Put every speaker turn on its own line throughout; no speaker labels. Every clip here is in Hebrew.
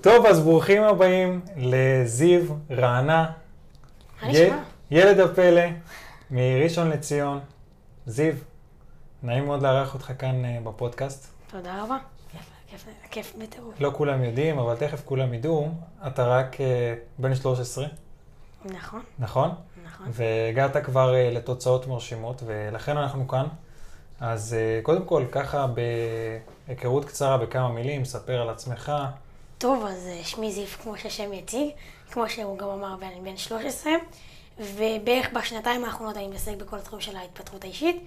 טוב, אז ברוכים הבאים לזיו רענה,
מה
י-
נשמע?
ילד הפלא מראשון לציון. זיו, נעים מאוד לארח אותך כאן אה, בפודקאסט.
תודה רבה. כיף, כיף, כיף בטירוף.
לא כולם יודעים, אבל תכף כולם ידעו, אתה רק אה, בן 13,
נכון,
נכון?
נכון.
והגעת כבר אה, לתוצאות מרשימות, ולכן אנחנו כאן. אז אה, קודם כל, ככה בהיכרות קצרה, בכמה מילים, ספר על עצמך.
טוב, אז אה, שמי זיו, כמו שהשם יציג, כמו שהוא גם אמר, ואני בן 13, ובערך בשנתיים האחרונות אני מתעסק בכל התחום של ההתפתחות האישית.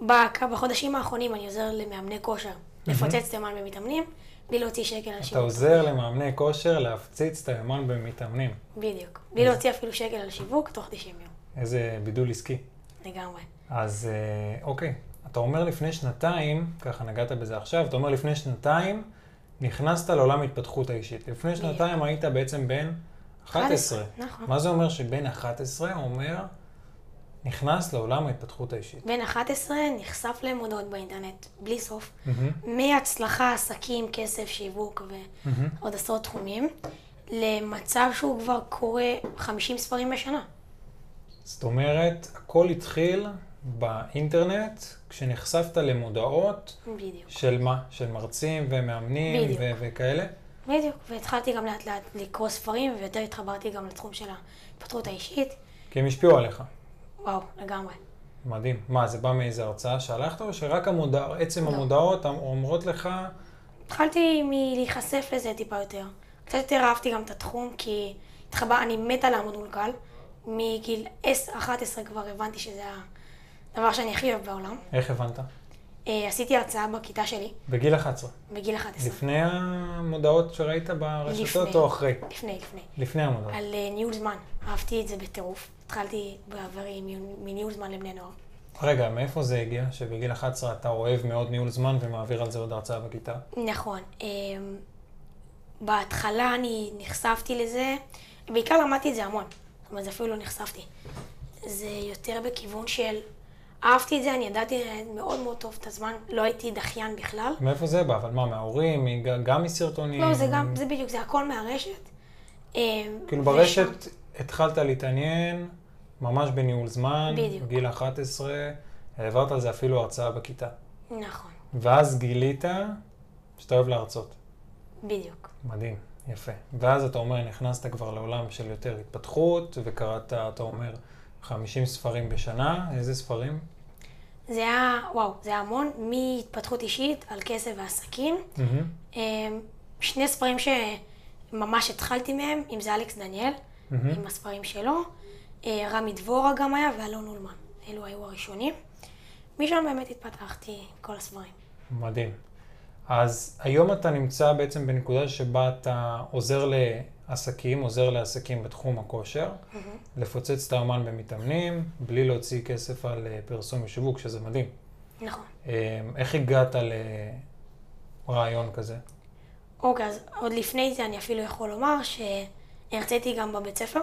בק- בחודשים האחרונים אני עוזר למאמני כושר, לפוצץ תימן במתאמנים, בלי להוציא שקל על
אתה
שיווק.
עוזר למאמני כושר להפציץ את היומן במתאמנים.
בדיוק. בלי להוציא אפילו שקל על שיווק, תוך 90 יום.
איזה בידול עסקי.
לגמרי.
אז אה, אוקיי, אתה אומר לפני שנתיים, ככה נגעת בזה עכשיו, אתה אומר לפני שנתיים נכנסת לעולם ההתפתחות האישית. לפני שנתיים היית בעצם בן 11.
11, נכון.
מה זה אומר שבן 11 אומר נכנס לעולם ההתפתחות האישית?
בן 11 נחשף למודעות באינטרנט, בלי סוף.
מהמם.
מהצלחה, עסקים, כסף, שיווק ועוד עשרות תחומים, למצב שהוא כבר קורא 50 ספרים בשנה.
זאת אומרת, הכל התחיל באינטרנט כשנחשפת למודעות
בדיוק.
של מה? של מרצים ומאמנים
בדיוק.
ו- וכאלה?
בדיוק. והתחלתי גם לאט לאט לקרוא ספרים, ויותר התחברתי גם לתחום של ההתפתחות האישית.
כי הם השפיעו עליך.
וואו, לגמרי.
מדהים. מה, זה בא מאיזה הרצאה שהלכת, או שרק המודע...
לא.
עצם המודעות אמ- אומרות לך,
התחלתי מלהיחשף לזה טיפה יותר. קצת יותר אהבתי גם את התחום, כי התחבא, אני מתה לעמוד מול קהל. מגיל 10-11 כבר הבנתי שזה הדבר שאני הכי אוהב בעולם.
איך הבנת?
אה, עשיתי הרצאה בכיתה שלי,
בגיל 11.
בגיל 11.
לפני המודעות שראית ברשתות
לפני.
או אחרי?
לפני, לפני.
לפני המודעות.
על אה, ניהול זמן. אהבתי את זה בטירוף. התחלתי בעברי מ- מניהול זמן לבני נוער.
רגע, מאיפה זה הגיע שבגיל 11 אתה אוהב מאוד ניהול זמן ומעביר על זה עוד הרצאה בכיתה?
נכון. אמ, בהתחלה אני נחשפתי לזה, בעיקר למדתי את זה המון. זאת אומרת, זה אפילו לא נחשפתי. זה יותר בכיוון של... אהבתי את זה, אני ידעתי לנהל מאוד מאוד טוב את הזמן, לא הייתי דחיין בכלל.
מאיפה זה בא? אבל מה, מההורים? מג- גם מסרטונים?
לא, זה גם, זה בדיוק, זה הכל מהרשת. אמ,
כאילו
ושם-
ברשת התחלת להתעניין ממש בניהול זמן,
בדיוק.
גיל 11, העברת על זה אפילו הרצאה בכיתה.
נכון,
ואז גילית שאתה אוהב להרצות.
בדיוק.
מדהים, יפה. ואז אתה אומר, נכנסת כבר לעולם של יותר התפתחות, וקראת, אתה אומר, 50 ספרים בשנה, איזה ספרים?
זה היה, וואו, זה היה המון, מהתפתחות אישית על כסף ועסקים. אמ, שני ספרים שממש התחלתי מהם, אם זה אלכס דניאל, עם הספרים שלו, אה, רמי דבורה גם היה ואלון אולמן. אלו היו הראשונים. משם באמת התפתחתי עם כל הספרים.
מדהים. אז היום אתה נמצא בעצם בנקודה שבה אתה עוזר לעסקים, עוזר לעסקים בתחום הכושר, לפוצץ את האמן במתאמנים, בלי להוציא כסף על אה, פרסום ושיווק, שזה מדהים.
נכון.
אה, איך הגעת לרעיון כזה?
אוקיי, אז עוד לפני זה אני אפילו יכול לומר שהרציתי גם בבית ספר,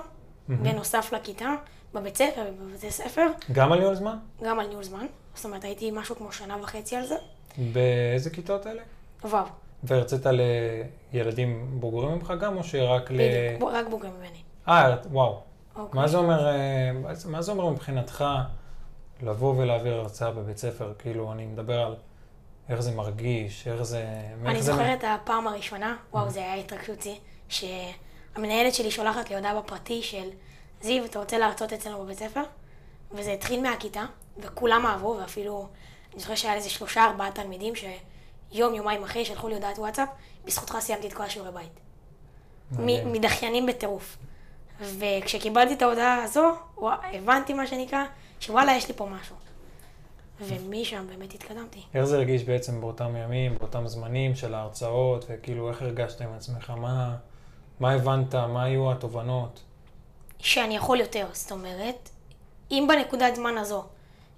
בנוסף לכיתה, בבית ספר ובבתי ספר,
גם על ניהול זמן?
גם על ניהול זמן. זאת אומרת, הייתי משהו כמו שנה וחצי על זה.
באיזה כיתות אלה?
וואו,
והרצית לילדים בוגרים ממך גם, או שרק ל...
בדיוק, בוא- רק בוגרים ממני.
אה, וואו.
אוקיי.
מה זה אומר, אה, מה זה- מה זה אומר מבחינתך לבוא ולהעביר הרצאה בבית ספר? כאילו, אני מדבר על איך זה מרגיש, איך זה... איך
אני
זה-
זוכרת את הפעם הראשונה, וואו, זה היה התרגשות שיא, שהמנהלת שלי שולחת לי הודעה בפרטי של זיו, אתה רוצה להרצות אצלנו בבית ספר? וזה התחיל מהכיתה, וכולם אהבו, ואפילו, אני זוכרת שהיה איזה שלושה, ארבעה תלמידים שיום, יומיים אחרי, שלחו לי הודעת וואטסאפ, בזכותך סיימתי את כל השיעורי בית.
מעניין.
מ- מדחיינים בטירוף. וכשקיבלתי את ההודעה הזו, ווא- הבנתי מה שנקרא, שוואלה, יש לי פה משהו. ומשם באמת התקדמתי.
איך זה הרגיש בעצם באותם ימים, באותם זמנים של ההרצאות, וכאילו, איך הרגשת עם עצמך? מה, מה הבנת? מה היו התובנות?
שאני יכול יותר. זאת אומרת, אם בנקודת זמן הזו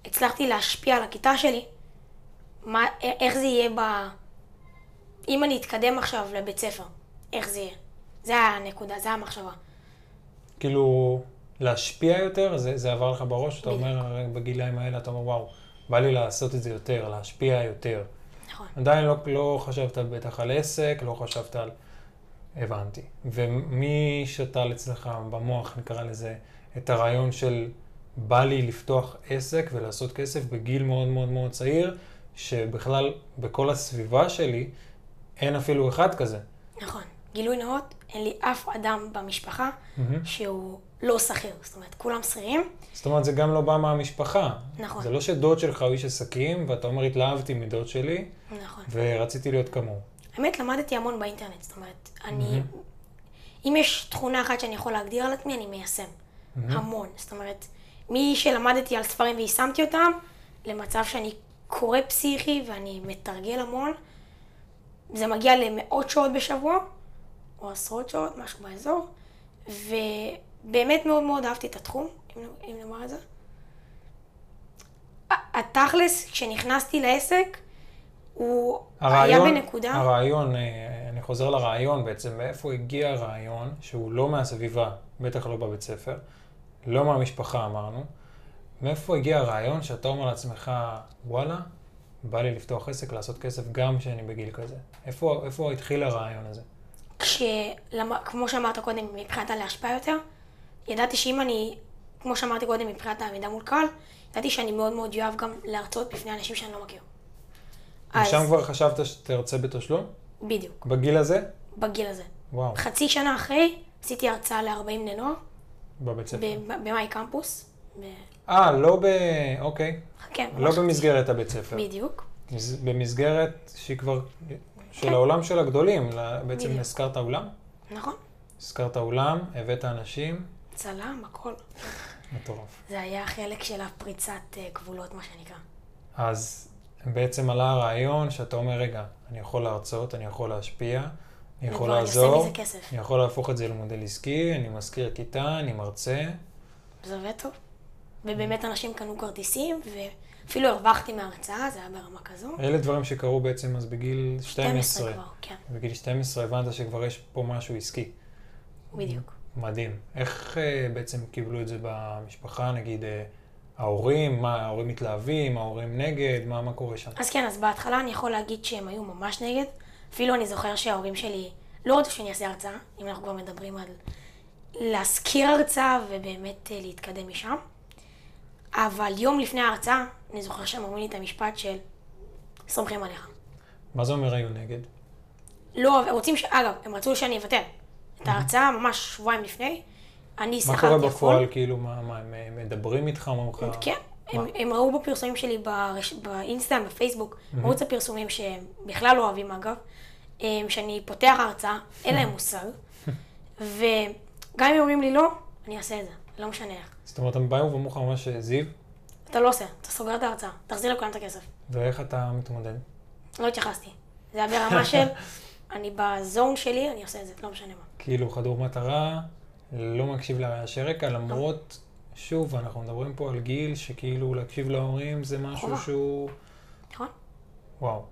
הצלחתי להשפיע על הכיתה שלי, מה, א- איך זה יהיה ב... אם אני אתקדם עכשיו לבית ספר, איך זה יהיה? זה הנקודה, זה המחשבה.
כאילו, להשפיע יותר, זה, זה עבר לך בראש, אתה אומר, הרי בגילאים האלה, אתה אומר, וואו, בא לי לעשות את זה יותר, להשפיע יותר.
נכון.
עדיין לא, לא חשבת בטח על עסק, לא חשבת על הבנתי. ומי שתל אצלך במוח, נקרא לזה, את הרעיון של בא לי לפתוח עסק ולעשות כסף בגיל מאוד מאוד מאוד צעיר, שבכלל בכל הסביבה שלי אין אפילו אחד כזה.
נכון. גילוי נאות, אין לי אף אדם במשפחה
מהמם.
שהוא לא שכיר. זאת אומרת, כולם שכירים.
זאת אומרת, זה גם לא בא מהמשפחה.
נכון.
זה לא שדוד שלך הוא איש עסקים, ואתה אומר, התלהבתי מדוד שלי,
נכון.
ורציתי להיות כמוהו.
האמת, למדתי המון באינטרנט. זאת אומרת, אני... אם יש תכונה אחת שאני יכול להגדיר על עצמי, אני מיישם. המון. זאת אומרת, מי שלמדתי על ספרים ויישמתי אותם, למצב שאני קורא פסיכי ואני מתרגל המון, זה מגיע למאות שעות בשבוע, או עשרות שעות, משהו באזור, ובאמת מאוד מאוד אהבתי את התחום, אם, אם נאמר את זה. ה- התכלס, כשנכנסתי לעסק, הוא היה בנקודה...
הרעיון, אה, אני חוזר לרעיון בעצם, מאיפה הגיע הרעיון שהוא לא מהסביבה, בטח לא בבית ספר, לא מהמשפחה אמרנו, מאיפה הגיע הרעיון שאתה אומר לעצמך, וואלה, בא לי לפתוח עסק, לעשות כסף גם כשאני בגיל כזה. איפה, איפה התחיל הרעיון הזה?
כשכמו שאמרת קודם, מבחינת הלהשפעה יותר, ידעתי שאם אני, כמו שאמרתי קודם, מבחינת העמידה מול קהל, ידעתי שאני מאוד מאוד אוהב גם להרצות בפני אנשים שאני לא מכיר. אז,
ושם כבר חשבת שתרצה בתשלום?
בדיוק,
בגיל הזה?
בגיל הזה.
וואו,
חצי שנה אחרי, עשיתי הרצאה ל-40 בני נוער,
בבית ספר.
ב- ב- במאי קמפוס. ב-
אה, לא ב... אוקיי.
כן,
לא
ממש-
במסגרת הבית ספר.
בדיוק.
מס- במסגרת שהיא כבר של
כן.
העולם של הגדולים, ל- בעצם
בדיוק.
הזכרת אולם,
נכון.
הזכרת אולם, הבאת אנשים,
צלם, הכל.
מטורף.
זה היה חלק של הפריצת אה, גבולות, מה שנקרא.
אז בעצם עלה הרעיון שאתה אומר, רגע, אני יכול להרצות, אני יכול להשפיע, אני יכול
וכבר נכון, אני אעשה
לעזור,
מזה כסף.
אני יכול להפוך את זה למודל עסקי, אני מזכיר כיתה, אני מרצה,
זה עובד טוב. ובאמת אנשים קנו כרטיסים, ואפילו הרווחתי מההרצאה, זה היה ברמה כזו.
אלה דברים שקרו בעצם אז בגיל 12.
12 כבר, כן,
בגיל 12 הבנת שכבר יש פה משהו עסקי. Mm-hmm.
בדיוק.
מדהים. איך אה, בעצם קיבלו את זה במשפחה, נגיד אה, ההורים, מה ההורים מתלהבים, ההורים נגד, מה, מה קורה שם?
אז כן, אז בהתחלה אני יכול להגיד שהם היו ממש נגד. אפילו אני זוכר שההורים שלי לא רצו שאני אעשה הרצאה, אם אנחנו כבר מדברים על להשכיר הרצאה ובאמת אה, להתקדם משם. אבל יום לפני ההרצאה, אני זוכר שהם אמרו לי את המשפט של סומכים עליך.
מה זה אומר היו נגד?
לא, הם רוצים ש... אגב, הם רצו שאני אבטל את ההרצאה ממש שבועיים לפני. אני
Mm-hmm. מה
שכרתי
קורה
הכל.
בפועל, כאילו, מה, מה, הם אה, מדברים איתך, מה אומרים לך?
כן, הם, הם ראו בפרסומים שלי ברש... באינסטגרם, בפייסבוק, ערוץ הפרסומים שהם בכלל לא אוהבים אגב, אמ, שאני פותח הרצאה, אין להם מושג, וגם אם אומרים לי לא, אני אעשה את זה, לא משנה איך.
זאת אומרת, הם באו ואמרו לך ממש אה, זיו,
אתה לא עושה, אתה סוגר את ההרצאה, תחזיר לכולם את הכסף.
ואיך אתה מתמודד?
לא התייחסתי. זה היה ברמה של, אני בזון שלי, אני עושה את זה, לא משנה מה.
כאילו, חדור מטרה, לא מקשיב לרעשי רקע, למרות, שוב, אנחנו מדברים פה על גיל שכאילו להקשיב להורים זה משהו
חובה.
שהוא...
נכון?
וואו.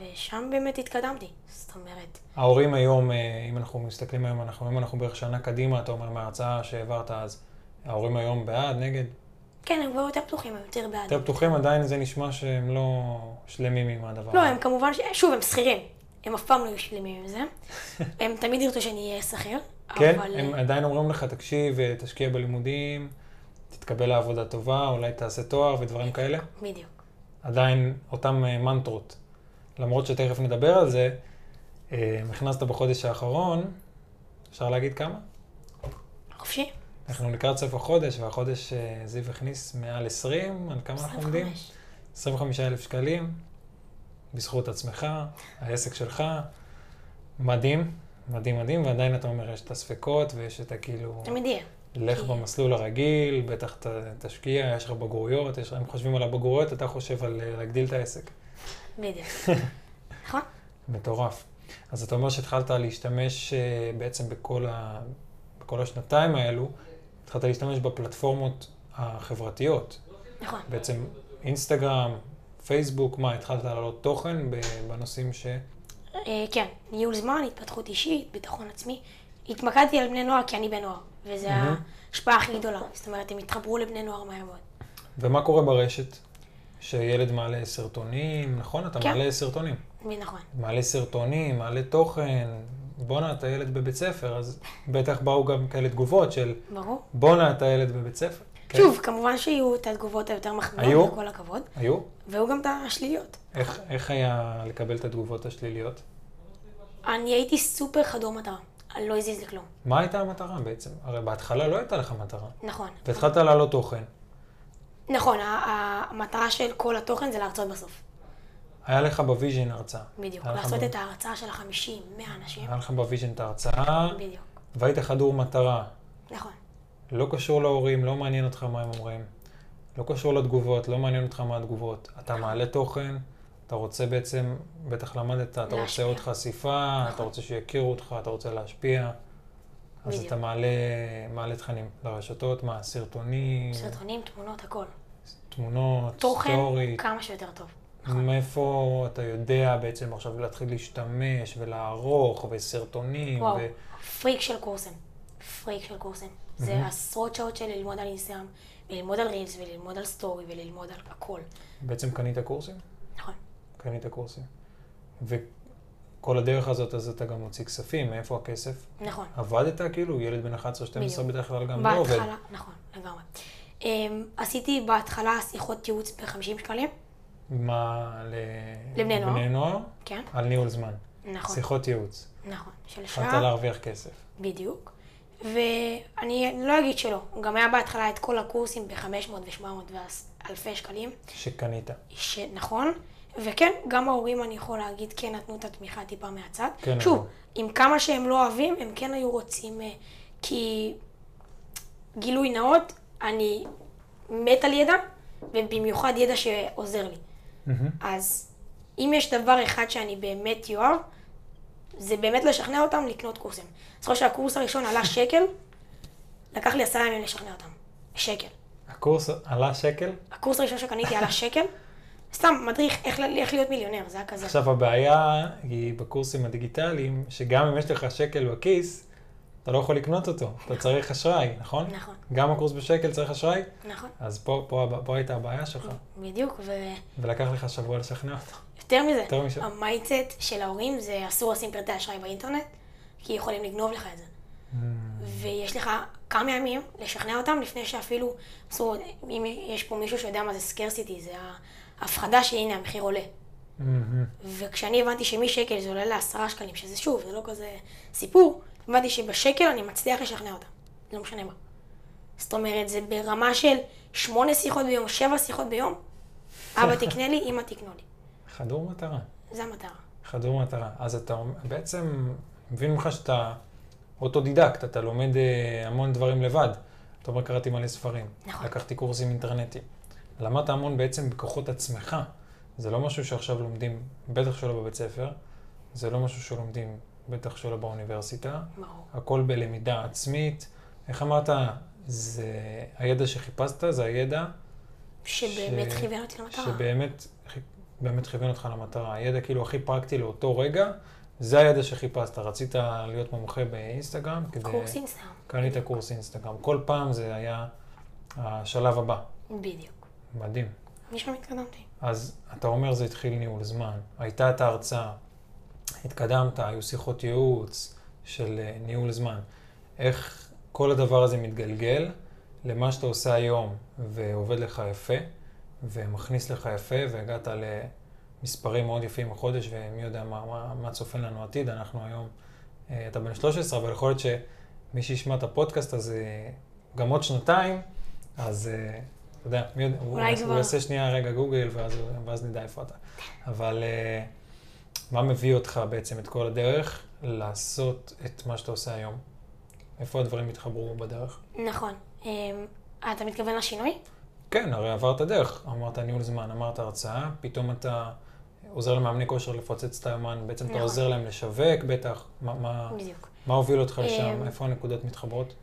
ושם באמת התקדמתי. זאת אומרת,
ההורים היום, אה, אם אנחנו מסתכלים היום, אנחנו, אם אנחנו בערך שנה קדימה, אתה אומר מההרצאה שהעברת אז, ההורים היום בעד, נגד,
כן, הם כבר יותר פתוחים, הם יותר בעד.
יותר פתוחים, עדיין זה נשמע שהם לא שלמים עם הדבר
לא, הם כמובן, ש... שוב, הם שכירים. הם אף פעם לא היו שלמים עם זה. הם תמיד ירצו שאני אהיה שכיר.
כן,
אבל...
הם
אה,
עדיין אומרים לך, תקשיב, אה, תשקיע בלימודים, תתקבל לעבודה טובה, אולי תעשה תואר ודברים כאלה.
בדיוק.
עדיין אותם אה, מנטרות. למרות שתכף נדבר על זה, אה, נכנסת בחודש האחרון, אפשר להגיד כמה?
חופשי?
אנחנו לקראת סוף החודש, והחודש אה, זיו הכניס מעל 20, על כמה אנחנו עומדים?
25.
25,000 שקלים, בזכות עצמך, העסק שלך, מדהים, מדהים מדהים, ועדיין אתה אומר, יש את הספקות ויש את הכאילו,
תמיד יהיה.
לך
כי-
במסלול הרגיל, בטח ת, תשקיע, יש לך בגרויות, יש, הם חושבים על הבגרויות, אתה חושב על אה, להגדיל את העסק.
בדיוק. נכון?
מטורף. אז אתה אומר שהתחלת להשתמש אה, בעצם בכל, ה, בכל השנתיים האלו, התחלת להשתמש בפלטפורמות החברתיות,
נכון.
בעצם אינסטגרם, פייסבוק, מה, התחלת לעלות תוכן ב- בנושאים ש...
אה, כן, ניהול זמן, התפתחות אישית, ביטחון עצמי. התמקדתי על בני נוער כי אני בן נוער, וזו ההשפעה הכי גדולה. זאת אומרת, הם התחברו לבני נוער מהר מאוד.
ומה קורה ברשת? שילד מעלה סרטונים, נכון? אתה
כן.
מעלה סרטונים.
מי נכון?
מעלה סרטונים, מעלה תוכן, בואנה, אתה ילד בבית ספר, אז בטח באו גם כאלה תגובות של
ברור.
בואנה, אתה ילד בבית ספר. כן.
שוב, כמובן שיהיו את התגובות היותר
היו?
מחמיאות, לכל הכבוד,
כן. היו?
והיו גם את השליליות.
איך, איך היה לקבל את התגובות השליליות?
אני הייתי סופר חדור מטרה, אני לא הזיז לי כלום.
מה הייתה המטרה בעצם? הרי בהתחלה לא הייתה לך מטרה.
נכון.
והתחלת לעלות תוכן.
נכון, ה- ה- המטרה של כל התוכן זה להרצות בסוף.
היה לך בוויז'ן הרצאה.
בדיוק.
היה לך
לעשות
ב-
את ההרצאה של החמישים, מאה אנשים.
היה לך בוויז'ן את ההרצאה,
בדיוק.
והיית חדור מטרה.
נכון.
לא קשור להורים, לא מעניין אותך מה הם אומרים. לא קשור לתגובות, לא מעניין אותך מה התגובות.
נכון.
אתה מעלה תוכן, אתה רוצה בעצם, בטח למדת, אתה רוצה
להשפיע. נכון.
עוד חשיפה, אתה רוצה שיכירו אותך, אתה רוצה להשפיע. אז
בדיוק.
אתה מעלה, מעלה תכנים לרשתות, מה, סרטונים,
סרטונים, תמונות, הכל.
תמונות,
תוכן,
סטורי,
כמה שיותר טוב.
מאיפה אתה יודע בעצם עכשיו להתחיל להשתמש ולערוך וסרטונים
וואו,
אה, ו...
פריק של קורסים. פריק של קורסים. זה עשרות שעות של ללמוד על אינסטגרם, וללמוד על רילס, וללמוד על סטורי, וללמוד על הכל.
בעצם קנית קורסים?
נכון.
קנית קורסים. וכל הדרך הזאת, אז אתה גם מוציא כספים, מאיפה הכסף?
נכון.
עבדת כאילו, ילד בן 11-12
בדיוק.
בדרך כלל גם לא עובד.
בהתחלה, נכון, לגמרי. אמ, עשיתי בהתחלה שיחות ייעוץ ב-50 שקלים,
מה, ל...
לבני נוער.
בני נוער?
כן?
על ניהול זמן.
נכון,
שיחות ייעוץ.
נכון. של
התחלת
שעה,
להרוויח כסף.
בדיוק. ואני לא אגיד שלא, גם היה בהתחלה את כל הקורסים ב-500 ו-700 ואלפי שקלים,
שקנית.
שנכון, נכון? וכן, גם ההורים, אני יכול להגיד, כן נתנו את התמיכה טיפה מהצד.
כן,
שוב,
אבל-
עם כמה שהם לא אוהבים, הם כן היו רוצים, אה, כי גילוי נאות, אני מת על ידע, ובמיוחד ידע שעוזר לי.
מהמם.
אז אם יש דבר אחד שאני באמת אוהב, זה באמת לשכנע אותם לקנות קורסים. אז חושב שהקורס הראשון עלה שקל, לקח לי עשרה ימים לשכנע אותם. שקל.
הקורס עלה שקל?
הקורס הראשון שקניתי עלה שקל, סתם מדריך איך, ל- איך להיות מיליונר, זה היה כזה.
עכשיו הבעיה היא בקורסים הדיגיטליים, שגם אם יש לך שקל בכיס, אתה לא יכול לקנות אותו, אתה צריך אשראי, נכון?
נכון.
גם הקורס בשקל צריך אשראי,
נכון,
אז פה, פה, הב- פה הייתה הבעיה שלך,
כן. בדיוק, ויותר
ולקח לך שבוע לשכנע אותו.
כן.
יותר
מזה,
מזה.
המייצט של ההורים זה אסור לשים פרטי אשראי באינטרנט, כי יכולים לגנוב לך את זה.
Mm.
ויש לך כמה ימים לשכנע אותם לפני שאפילו, אסור, אם יש פה מישהו שיודע מה זה סקרסיטי, זה ההפחדה שהנה המחיר עולה.
מהמם.
וכשאני הבנתי שמשקל זה עולה לעשרה שקלים, שזה שוב, זה לא כזה סיפור, הבנתי שבשקל אני מצליח לשכנע אותם, לא משנה מה. זאת אומרת, זה ברמה של שמונה שיחות ביום, שבע שיחות ביום, אבא תקנה לי, אמא תקנו לי.
חדור מטרה,
זה המטרה.
חדור מטרה. אז אתה אומר- בעצם מבין ממך שאתה אוטודידקט, אתה לומד אה, המון דברים לבד. אתה אומר, קראתי מלא ספרים,
נכון.
לקחתי קורסים אינטרנטיים. למדת המון בעצם בכוחות עצמך. זה לא משהו שעכשיו לומדים, בטח שלא בבית ספר, זה לא משהו שלומדים, בטח שלא באוניברסיטה.
ברור.
הכל בלמידה עצמית. איך אמרת? זה הידע שחיפשת, זה הידע
שבאמת
ש-
כיוון אותי למטרה.
שבאמת באמת כיוון אותך למטרה. הידע כאילו הכי פרקטי לאותו רגע, זה הידע שחיפשת. רצית להיות מומחה באינסטגרם, כדי...
קורס אינסטגרם.
קנית קורס אינסטגרם. כל פעם זה היה השלב הבא.
בדיוק.
מדהים.
משם התקדמתי.
אז אתה אומר זה התחיל ניהול זמן. הייתה את ההרצאה, התקדמת, היו שיחות ייעוץ של אה, ניהול זמן. איך כל הדבר הזה מתגלגל למה שאתה עושה היום, ועובד לך יפה, ומכניס לך יפה, והגעת למספרים מאוד יפים החודש, ומי יודע מה, מה, מה צופן לנו עתיד. אנחנו היום, אה, אתה בן 13, אבל יכול להיות שמי שישמע את הפודקאסט הזה גם עוד שנתיים, אז אה, אתה יודע, מי יודע, הוא,
אולי
יעשה- הוא
כבר.
יעשה שנייה רגע גוגל, ואז, ואז נדע איפה אתה. אבל אה, מה מביא אותך בעצם את כל הדרך לעשות את מה שאתה עושה היום? איפה הדברים התחברו בדרך?
נכון. אמ, אתה מתכוון לשינוי?
כן, הרי עברת דרך. אמרת ניהול זמן, אמרת הרצאה, פתאום אתה עוזר למאמני כושר לפוצץ את היומן, בעצם אתה
נכון.
עוזר להם לשווק, בטח. מה, מה,
בדיוק.
מה הוביל אותך לשם?
אמ,
איפה הנקודות מתחברות?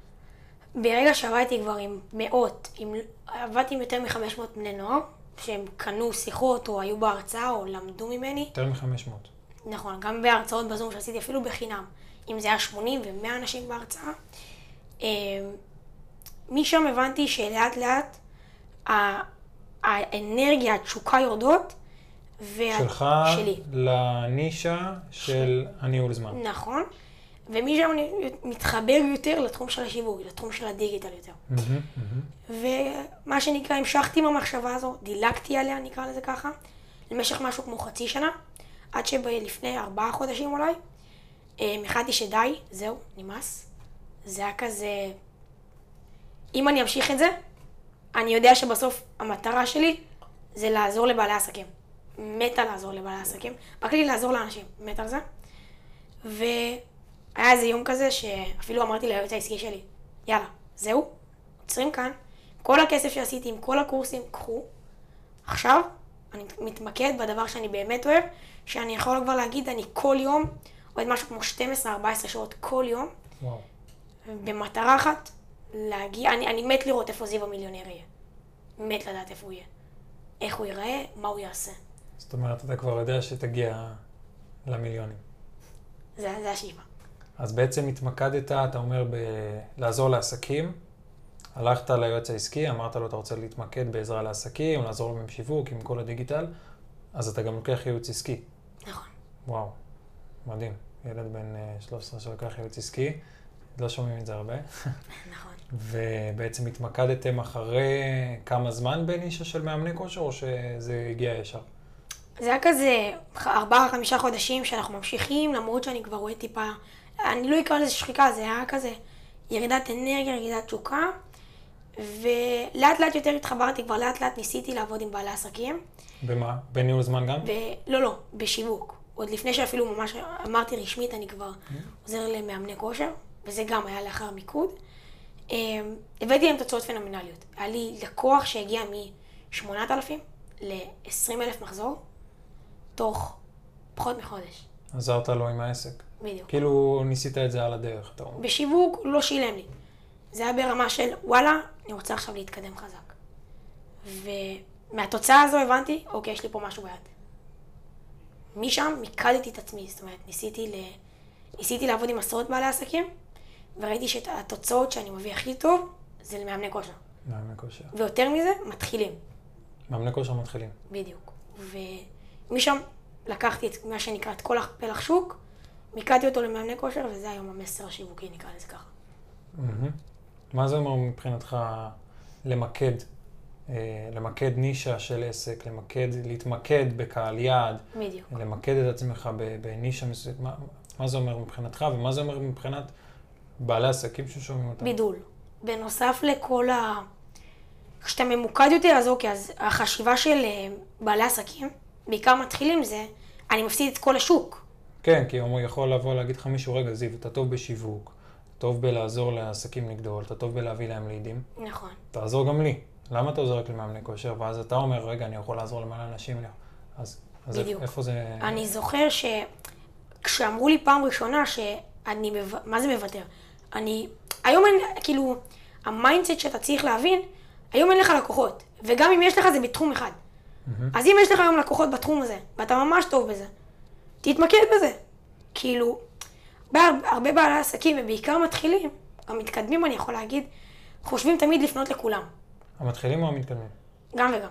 ברגע שעבדתי כבר עם מאות, עם, עבדתי עם יותר מ-500 בני נוער, שהם קנו שיחות או היו בהרצאה או למדו ממני.
יותר מ-500.
נכון, גם בהרצאות בזום שעשיתי אפילו בחינם, אם זה היה 80 ו-100 אנשים בהרצאה. אמ, משם הבנתי שלאט לאט ה- האנרגיה, התשוקה יורדות. וה-
שלך
אה, שלי.
לנישה של הניהול זמן.
נכון, ומשם אני מתחבר יותר לתחום של השיווק, לתחום של הדיגיטל יותר.
מהמם, מהמם.
ומה שנקרא, המשכתי עם המחשבה הזו, דילגתי עליה, נקרא לזה ככה, למשך משהו כמו חצי שנה, עד שלפני ארבעה חודשים אולי, אמ, החלטתי שדי, זהו, נמאס. זה היה כזה... אם אני אמשיך את זה, אני יודע שבסוף המטרה שלי זה לעזור לבעלי עסקים. מתה לעזור לבעלי עסקים, בכלי לעזור לאנשים, מתה על זה. והיה איזה יום כזה שאפילו אמרתי ליועץ העסקי שלי, יאללה, זהו, עוצרים כאן, כל הכסף שעשיתי עם כל הקורסים, קחו. עכשיו, אני מתמקד בדבר שאני באמת אוהב, שאני יכול כבר להגיד, אני כל יום עובד משהו כמו 12-14 שעות כל יום,
וואו.
במטרה אחת, להגיע, אני, אני מת לראות איפה זיו המיליונר יהיה. מת לדעת איפה הוא יהיה. איך הוא ייראה, מה הוא יעשה.
זאת אומרת, אתה כבר יודע שתגיע למיליונים.
זה, זה השאיפה.
אז בעצם התמקדת, אתה אומר, ב... לעזור לעסקים. הלכת ליועץ העסקי, אמרת לו, אתה רוצה להתמקד בעזרה לעסקים, לעזור להם עם שיווק, עם כל הדיגיטל, אז אתה גם לוקח ייעוץ עסקי.
נכון.
וואו, מדהים. ילד בן אה, 13 שלקח ייעוץ עסקי, לא שומעים את זה הרבה.
נכון.
ובעצם התמקדתם אחרי כמה זמן בנישה של מאמני כושר, או שזה הגיע ישר?
זה היה כזה ח- ארבעה, חמישה חודשים שאנחנו ממשיכים, למרות שאני כבר רואה טיפה, אני לא אקרא לזה שחיקה, זה היה כזה ירידת אנרגיה, ירידת תשוקה, ולאט לאט יותר התחברתי, כבר לאט לאט ניסיתי לעבוד עם בעלי עסקים,
במה? בניהול זמן גם?
ולא, לא, בשיווק. עוד לפני שאפילו ממש אמרתי רשמית, אני כבר עוזר למאמני כושר, וזה גם היה לאחר מיקוד. אמ, הבאתי להם תוצאות פנומנליות. היה לי לקוח שהגיע מ-8,000 ל-20,000 מחזור, תוך פחות מחודש,
עזרת לו עם העסק.
בדיוק.
כאילו ניסית את זה על הדרך, אתה אומר.
בשיווק הוא לא שילם לי. זה היה ברמה של, וואלה, אני רוצה עכשיו להתקדם חזק. ומהתוצאה הזו הבנתי, אוקיי, יש לי פה משהו ביד. משם מיקדתי את עצמי, זאת אומרת, ניסיתי, ל... ניסיתי לעבוד עם עשרות בעלי עסקים, וראיתי שאת התוצאות שאני מביא הכי טוב, זה למאמני כושר.
מאמני כושר.
ויותר מזה, מתחילים,
מאמני כושר מתחילים.
בדיוק. ומשם לקחתי את מה שנקרא, את כל הפלח שוק, מיקדתי אותו למאמני כושר, וזה היום המסר השיווקי, נקרא לזה ככה.
מהמם. מה זה אומר מבחינתך למקד, אה, למקד נישה של עסק, למקד, להתמקד בקהל יעד,
בדיוק.
למקד את עצמך ב- בנישה מסוימת, מה, מה זה אומר מבחינתך ומה זה אומר מבחינת בעלי עסקים ששומעים אותם?
בידול. בנוסף לכל ה... כשאתה ממוקד יותר, אז אוקיי, אז החשיבה של אה, בעלי עסקים, בעיקר מתחילים זה, אני מפסיד את כל השוק.
כן, כי הוא יכול לבוא להגיד לך מישהו, רגע, זיו, אתה טוב בשיווק, אתה טוב בלעזור לעסקים לגדול, אתה טוב בלהביא להם לידים,
נכון.
תעזור גם לי. למה אתה עוזר רק למאמני כושר? ואז אתה אומר, רגע, אני יכול לעזור למלא אנשים. אני- אז, אז
בדיוק.
איפה זה...
אני זוכר שכשאמרו לי פעם ראשונה שאני, מב... מה זה מוותר? אני, היום אין, כאילו, המיינדסט שאתה צריך להבין, היום אין לך לקוחות, וגם אם יש לך זה בתחום אחד. אז אם יש לך היום לקוחות בתחום הזה, ואתה ממש טוב בזה, תתמקד בזה. כאילו, בהר- הרבה בעלי עסקים, ובעיקר מתחילים, המתקדמים אני יכול להגיד, חושבים תמיד לפנות לכולם,
המתחילים או המתקדמים?
גם וגם.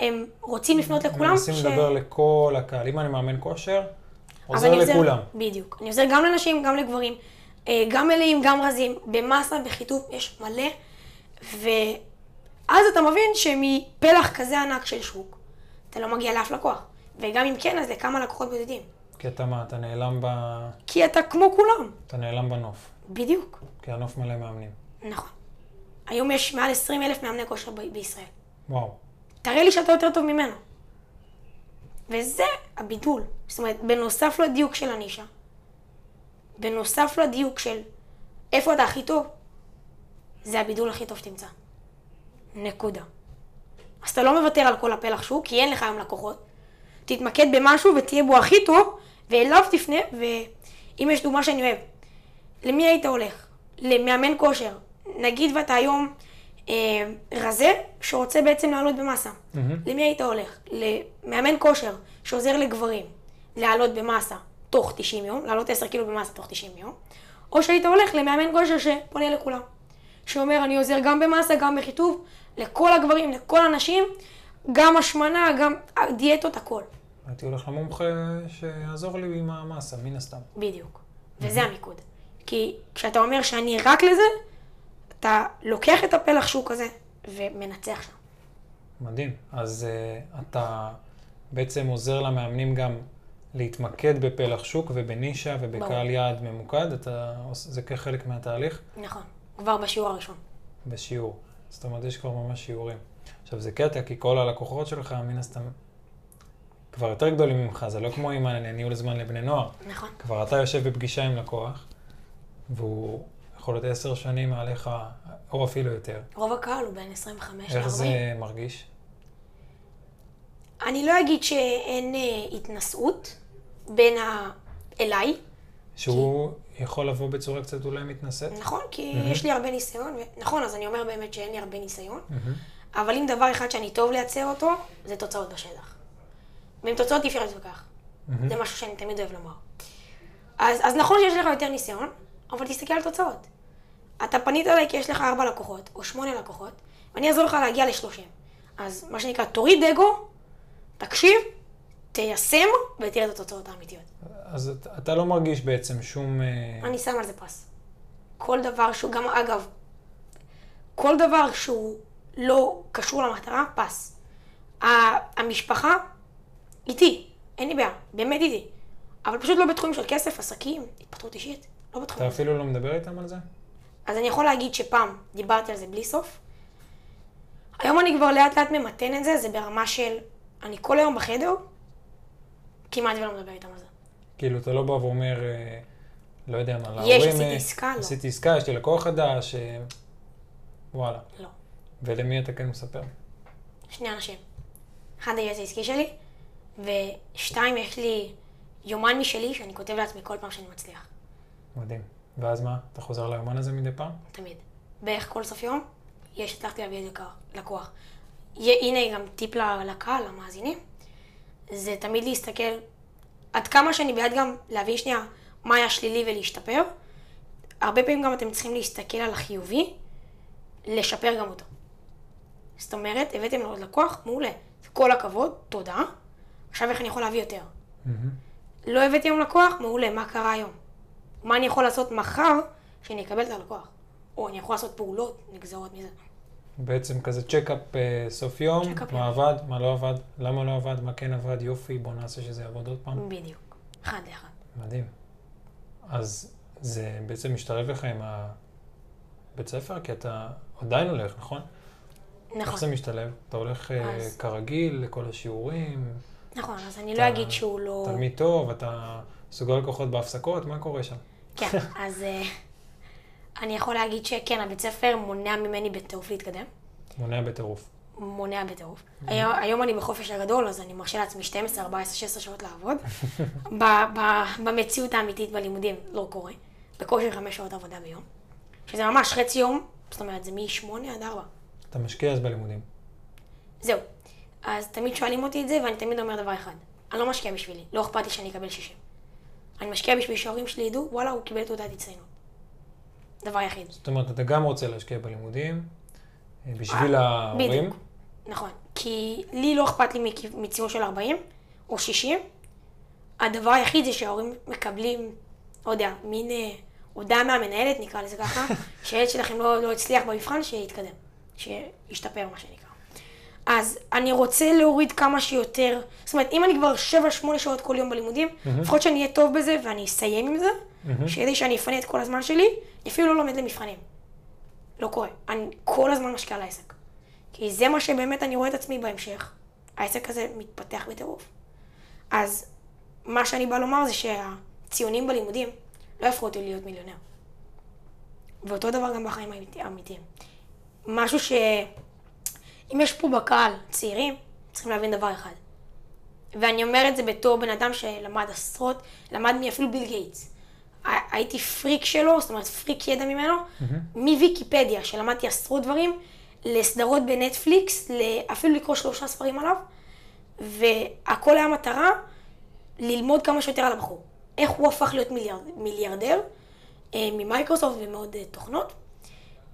הם רוצים לפנות לכולם,
מנסים לדבר לכל הקהל. אם אני מאמן כושר,
אבל
עוזר
אני
לכולם.
בדיוק. אני עוזר גם לנשים, גם לגברים, אה, גם מלאים, גם רזים, במסה, בחיתוך, יש מלא. ואז אתה מבין שמפלח כזה ענק של שוק, אתה לא מגיע לאף לקוח. וגם אם כן, אז לכמה לקוחות בודדים.
כי אתה מה, אתה נעלם, ב...
כי אתה כמו כולם.
אתה נעלם בנוף.
בדיוק.
כי הנוף מלא מאמנים.
נכון. היום יש מעל 20 אלף מאמני כושר ב- בישראל.
וואו.
תראה לי שאתה יותר טוב ממנו. וזה הבידול. זאת אומרת, בנוסף לדיוק של הנישה, בנוסף לדיוק של איפה אתה הכי טוב, זה הבידול הכי טוב שתמצא. נקודה. אז אתה לא מוותר על כל הפלח שוק, כי אין לך היום לקוחות. תתמקד במשהו ותהיה בו הכי טוב, ואליו תפנה, ואם יש דוגמה שאני אוהב, למי היית הולך? למאמן כושר. נגיד ואתה היום אה, רזה, שרוצה בעצם לעלות במסה. למי היית הולך? למאמן כושר שעוזר לגברים לעלות במסה תוך 90 יום, לעלות 10 קילו במסה תוך 90 יום, או שהיית הולך למאמן כושר שפונה לכולם. שאומר, אני עוזר גם במסה, גם בחיטוב, לכל הגברים, לכל הנשים, גם השמנה, גם דיאטות, הכל.
הייתי הולך למומחה שיעזור לי עם המסה, מן הסתם.
בדיוק. וזה המיקוד. כי כשאתה אומר שאני רק לזה, אתה לוקח את הפלח שוק הזה ומנצח שם.
מדהים. אז uh, אתה בעצם עוזר למאמנים גם להתמקד בפלח שוק ובנישה ובקהל
ברור.
יעד ממוקד, אתה, עוש- זה כחלק מהתהליך
נכון, כבר בשיעור הראשון.
בשיעור. זאת אומרת, יש כבר ממש שיעורים. עכשיו, זה קטע, כי כל הלקוחות שלך, מן הסתם, כבר יותר גדולים ממך, זה לא כמו עם הניהול זמן לבני נוער.
נכון,
כבר אתה יושב בפגישה עם לקוח, והוא יכול להיות עשר שנים מעליך, או אפילו יותר.
רוב הקהל הוא בין 25
איך
ל-40.
זה מרגיש?
אני לא אגיד שאין אה, התנשאות בין ה... אליי,
שהוא יכול לבוא בצורה קצת אולי מתנשאת?
נכון? כי יש לי הרבה ניסיון, ו- נכון, אז אני אומר באמת שאין לי הרבה ניסיון, אבל אם דבר אחד שאני טוב לייצר אותו, זה תוצאות בשטח. ועם תוצאות אי אפשר להתווכח. זה משהו שאני תמיד אוהב לומר. אז, אז נכון שיש לך יותר ניסיון, אבל תסתכל על תוצאות. אתה פנית אליי כי יש לך ארבע לקוחות, או שמונה לקוחות, ואני אעזור לך להגיע לשלושים. אז מה שנקרא, תוריד אגו, תקשיב, תיישם, ותראה את התוצאות האמיתיות.
אז אתה- אתה לא מרגיש בעצם שום... אה,
אני שם על זה פס. כל דבר שהוא, גם אגב, כל דבר שהוא לא קשור למטרה, פס. ה- המשפחה איתי, אין לי בעיה, באמת איתי. אבל פשוט לא בתחום של כסף, עסקים, התפתחות אישית, לא בתחום
אתה
הזה.
אפילו לא מדבר איתם על זה?
אז אני יכול להגיד שפעם דיברתי על זה בלי סוף. היום אני כבר לאט לאט ממתן את זה, זה ברמה של, אני כל היום בחדר, כמעט ולא מדבר איתם על זה.
כאילו, אתה לא בא ואומר, אה, לא יודע מה, להורים...
עשיתי
אה,
עסקה, לא.
עשיתי עסקה, יש לי לקוח חדש, אה, וואלה.
לא.
ולמי אתה כן מספר?
שני אנשים. אחד היועץ העסקי שלי, ושתיים, יש לי יומן משלי שאני כותב לעצמי כל פעם שאני מצליח,
מדהים. ואז מה? אתה חוזר ליומן הזה מדי פעם?
תמיד. בערך כל סוף יום, יש הצלחתי להביא איזה לקוח- לקוח. יה- הנה גם טיפ ל- לקהל, למאזינים, זה תמיד להסתכל, עד כמה שאני בעד גם להבין שנייה מה היה שלילי ולהשתפר, הרבה פעמים גם אתם צריכים להסתכל על החיובי, לשפר גם אותו. זאת אומרת, הבאתם לו עוד לקוח, מעולה. כל הכבוד, תודה. עכשיו איך אני יכול להביא יותר? לא הבאתי היום לקוח, מעולה, מה קרה היום? מה אני יכול לעשות מחר שאני אקבל את הלקוח? או אני יכול לעשות פעולות נגזרות מזה.
בעצם כזה צ'קאפ אה, סוף יום,
צ'קאפ
מה עבד, מה לא עבד, למה לא עבד, מה כן עבד, יופי, בוא נעשה שזה יעבוד עוד פעם.
בדיוק. אחד לאחד.
מדהים. אז זה בעצם משתלב לך עם הבית ספר, כי אתה עדיין הולך, נכון? איך זה
נכון,
משתלב? אתה הולך אה,
אז-
כרגיל לכל השיעורים,
נכון, אז אני
אתה
לא אגיד שהוא לא...
תלמיד טוב, אתה סוגר לקוחות בהפסקות, מה קורה שם?
כן, אז אה, אני יכול להגיד שכן, הבית ספר מונע ממני בטירוף להתקדם.
מונע בטירוף.
מונע בטירוף. היום, היום אני בחופש הגדול, אז אני מרשה לעצמי 12, 14, 16 שעות לעבוד. ב, ב, במציאות האמיתית בלימודים לא קורה. בקושי 5 שעות עבודה ביום. שזה ממש חצי יום, זאת אומרת, זה מ-8 עד 4.
אתה משקיע אז בלימודים.
זהו. אז תמיד שואלים אותי את זה, ואני תמיד אומר דבר אחד. אני לא משקיע בשבילי, לא אכפת לי שאני אקבל 60. אני משקיע בשביל שההורים שלי ידעו, וואלה, הוא קיבל תעודת הצטיינות. דבר יחיד.
זאת אומרת, אתה גם רוצה להשקיע בלימודים, אה, בשביל ההורים.
בדיוק. נכון. כי לי לא אכפת לי מכיו- מציון של 40 או 60. הדבר היחיד זה שההורים מקבלים, לא יודע, מין אה, הודעה מהמנהלת, נקרא לזה ככה, שהילד שלכם לא, לא הצליח במבחן, שיתקדם. שישתפר, מה שנקרא. אז אני רוצה להוריד כמה שיותר, זאת אומרת, אם אני כבר 7-8 שעות כל יום בלימודים, לפחות שאני אהיה טוב בזה ואני אסיים עם זה, שכדי שאני אפנה את כל הזמן שלי, אני אפילו לא לומד למבחנים. לא קורה. אני כל הזמן משקיעה על העסק. כי זה מה שבאמת אני רואה את עצמי בהמשך. העסק הזה מתפתח בטירוף. אז מה שאני באה לומר זה שהציונים בלימודים לא יהפכו אותי להיות מיליונר. ואותו דבר גם בחיים האמיתי- האמיתיים. משהו ש... אם יש פה בקהל צעירים, צריכים להבין דבר אחד. ואני אומר את זה בתור בן אדם שלמד עשרות, למד מאפילו ביל גייטס. ה- הייתי פריק שלו, זאת אומרת פריק ידע ממנו, מוויקיפדיה, שלמדתי עשרות דברים, לסדרות בנטפליקס, ל- אפילו לקרוא שלושה ספרים עליו, והכל היה מטרה ללמוד כמה שיותר על הבחור. איך הוא הפך להיות מיליארד, מיליארדר אה, ממייקרוסופט ומעוד אה, תוכנות.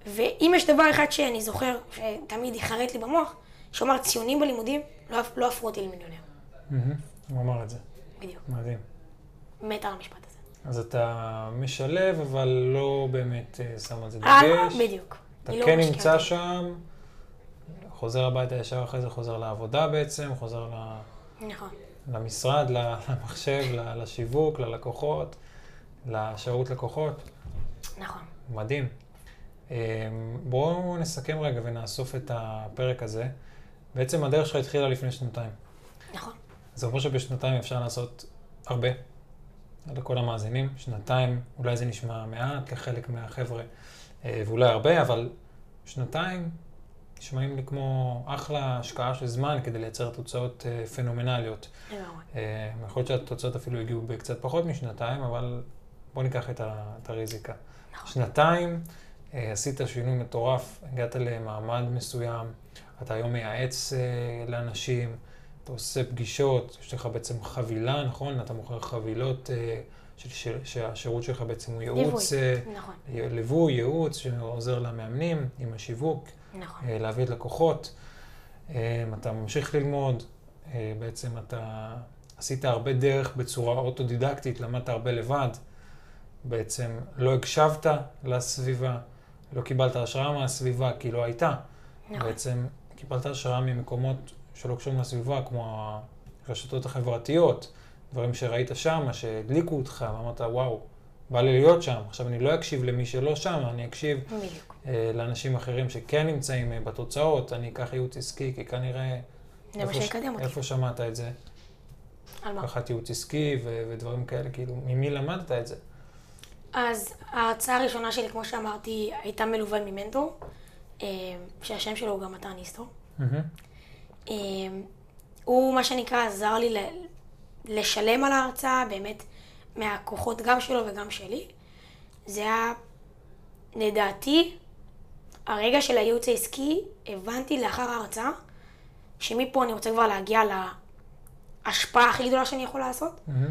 ואם יש דבר אחד שאני זוכר, שתמיד יחרט לי במוח, שאומר ציונים בלימודים לא, הפ- לא הפכו אותי למיליונר.
מהמם, הוא אמר את זה.
בדיוק.
מדהים.
מתה על המשפט הזה.
אז אתה משלב, אבל לא באמת אה, שם על זה
אה,
דגש.
בדיוק.
אתה
אני לא
כן
משקיעה
נמצא
בזה.
שם, חוזר הביתה ישר אחרי זה, חוזר לעבודה בעצם, חוזר ל-
נכון.
למשרד, ל- למחשב, ל- לשיווק, ללקוחות, לשירות לקוחות.
נכון.
מדהים. אה, בואו נסכם רגע ונאסוף את הפרק הזה. בעצם הדרך שלך התחילה לפני שנתיים.
נכון.
זה אומר שבשנתיים אפשר לעשות הרבה. לכל המאזינים, שנתיים, אולי זה נשמע מעט לחלק מהחבר'ה, אה, ואולי הרבה, אבל שנתיים נשמעים לי כמו אחלה השקעה של זמן כדי לייצר תוצאות אה, פנומנליות.
לגמרי.
אה, יכול להיות שהתוצאות אפילו הגיעו בקצת פחות משנתיים, אבל בואו ניקח את, ה, את הריזיקה.
נכון.
שנתיים, אה, עשית שינוי מטורף, הגעת למעמד מסוים, אתה היום מייעץ אה, לאנשים, אתה עושה פגישות, יש לך בעצם חבילה, נכון? אתה מוכר חבילות אה, של, של, שהשירות שלך בעצם הוא ייעוץ, אה,
נכון.
ליווי, ייעוץ, שעוזר למאמנים עם השיווק,
נכון.
אה, להביא את לקוחות. אה, אתה ממשיך ללמוד, אה, בעצם אתה עשית הרבה דרך בצורה אוטודידקטית, למדת הרבה לבד. בעצם לא הקשבת לסביבה, לא קיבלת השראה מהסביבה, כי לא הייתה.
נכון.
בעצם קיבלת השראה ממקומות שלא קשורים לסביבה, כמו הרשתות החברתיות, דברים שראית שם, שהדליקו אותך, ואמרת, וואו, בא לי להיות שם. עכשיו, אני לא אקשיב למי שלא שם, אני אקשיב
בדיוק.
אה, לאנשים אחרים שכן נמצאים אה, בתוצאות, אני אקח ייעוץ עסקי, כי כנראה...
זה מה
איפה ש-
שיקדם אותי.
איפה שמעת את זה?
על מה?
לקחת ייעוץ עסקי ו- ודברים כאלה, כאילו, ממי למדת את זה? אה.
אז ההרצאה הראשונה שלי, כמו שאמרתי, הייתה מלווה ממנטור, אה, שהשם שלו הוא גם מתן ניסטור.
מהמם.
אה, הוא, מה שנקרא, עזר לי ל- לשלם על ההרצאה, באמת, מהכוחות גם שלו וגם שלי. זה היה, לדעתי, הרגע של הייעוץ העסקי, הבנתי לאחר ההרצאה, שמפה אני רוצה כבר להגיע להשפעה הכי גדולה שאני יכול לעשות.
מהמם.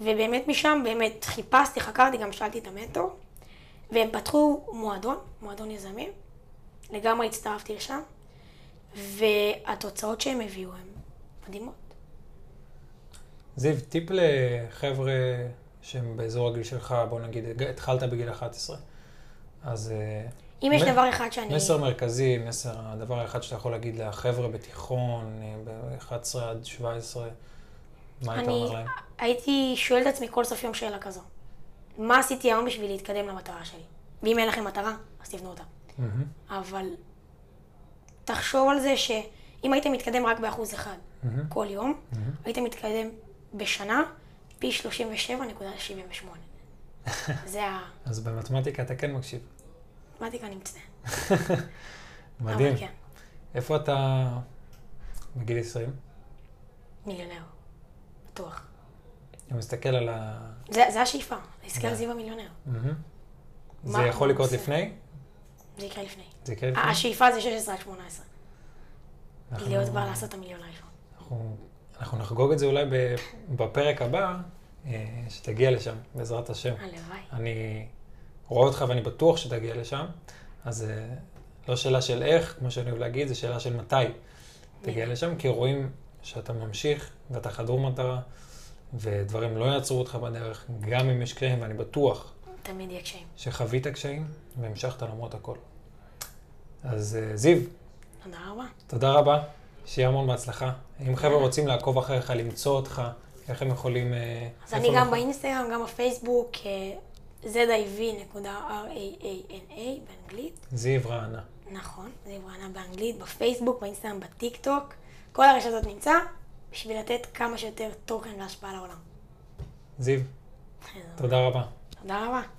ובאמת משם, באמת חיפשתי, חקרתי, גם שאלתי את המנטור, והם פתחו מועדון, מועדון יזמים. לגמרי הצטרפתי לשם, והתוצאות שהם הביאו הן מדהימות.
זיו, טיפ לחבר'ה שהם באזור הגיל שלך, בוא נגיד, הג- התחלת בגיל 11. אז אה,
אם יש
מ-
דבר אחד שאני...
מסר מרכזי, מסר, הדבר האחד שאתה יכול להגיד לחבר'ה בתיכון, ב-11 עד 17, מה היית
אני
אומר להם?
הייתי שואל את עצמי כל סוף יום שאלה כזו. מה עשיתי היום בשביל להתקדם למטרה שלי? ואם אין לכם מטרה, אז תבנו אותה.
מהמם.
אבל תחשוב על זה שאם היית מתקדם רק באחוז אחד
מהמם.
כל יום, היית מתקדם בשנה פי 37.78. זה ה...
אז במתמטיקה אתה כן מקשיב.
מתמטיקה אני מצטער.
מדהים.
כן,
איפה אתה בגיל 20?
מיליונר. בטוח.
אתה מסתכל על ה...
זה, זה השאיפה, להסתכל על
זה-
זיו המיליונר.
מהמם.
מה
זה יכול
הוא
לקרות
עושה?
לפני?
זה יקרה לפני.
זה יקרה לפני?
השאיפה זה 16 עד 18.
אנחנו-
להיות כבר לעשות את המיליון הראשון.
אנחנו- אנחנו נחגוג את זה אולי ב- בפרק הבא, אה, שתגיע לשם, בעזרת השם.
הלוואי.
אני רואה אותך ואני בטוח שתגיע לשם, אז אה, לא שאלה של איך, כמו שאני אוהב להגיד, זו שאלה של מתי תגיע לשם, כי רואים שאתה ממשיך ואתה חדור מטרה, ודברים לא יעצרו אותך בדרך, גם אם יש קשיים, ואני בטוח
תמיד יהיה קשיים.
שחווית קשיים והמשכת למרות הכל. אז אה, זיו,
תודה רבה.
תודה רבה, שיהיה המון בהצלחה. אם חבר'ה רוצים לעקוב אחריך, למצוא אותך, איך הם יכולים... אה,
אז
איפה
אני
הם
גם
יכולים-
באינסטגרם, גם בפייסבוק, אה, ziv.raana באנגלית.
זיו רענה.
נכון, זה יברנה באנגלית, בפייסבוק, באינסטגרם, בטיקטוק. כל הרשתות נמצא, בשביל לתת כמה שיותר תוכן והשפעה לעולם.
זיו, תודה רבה.
תודה רבה.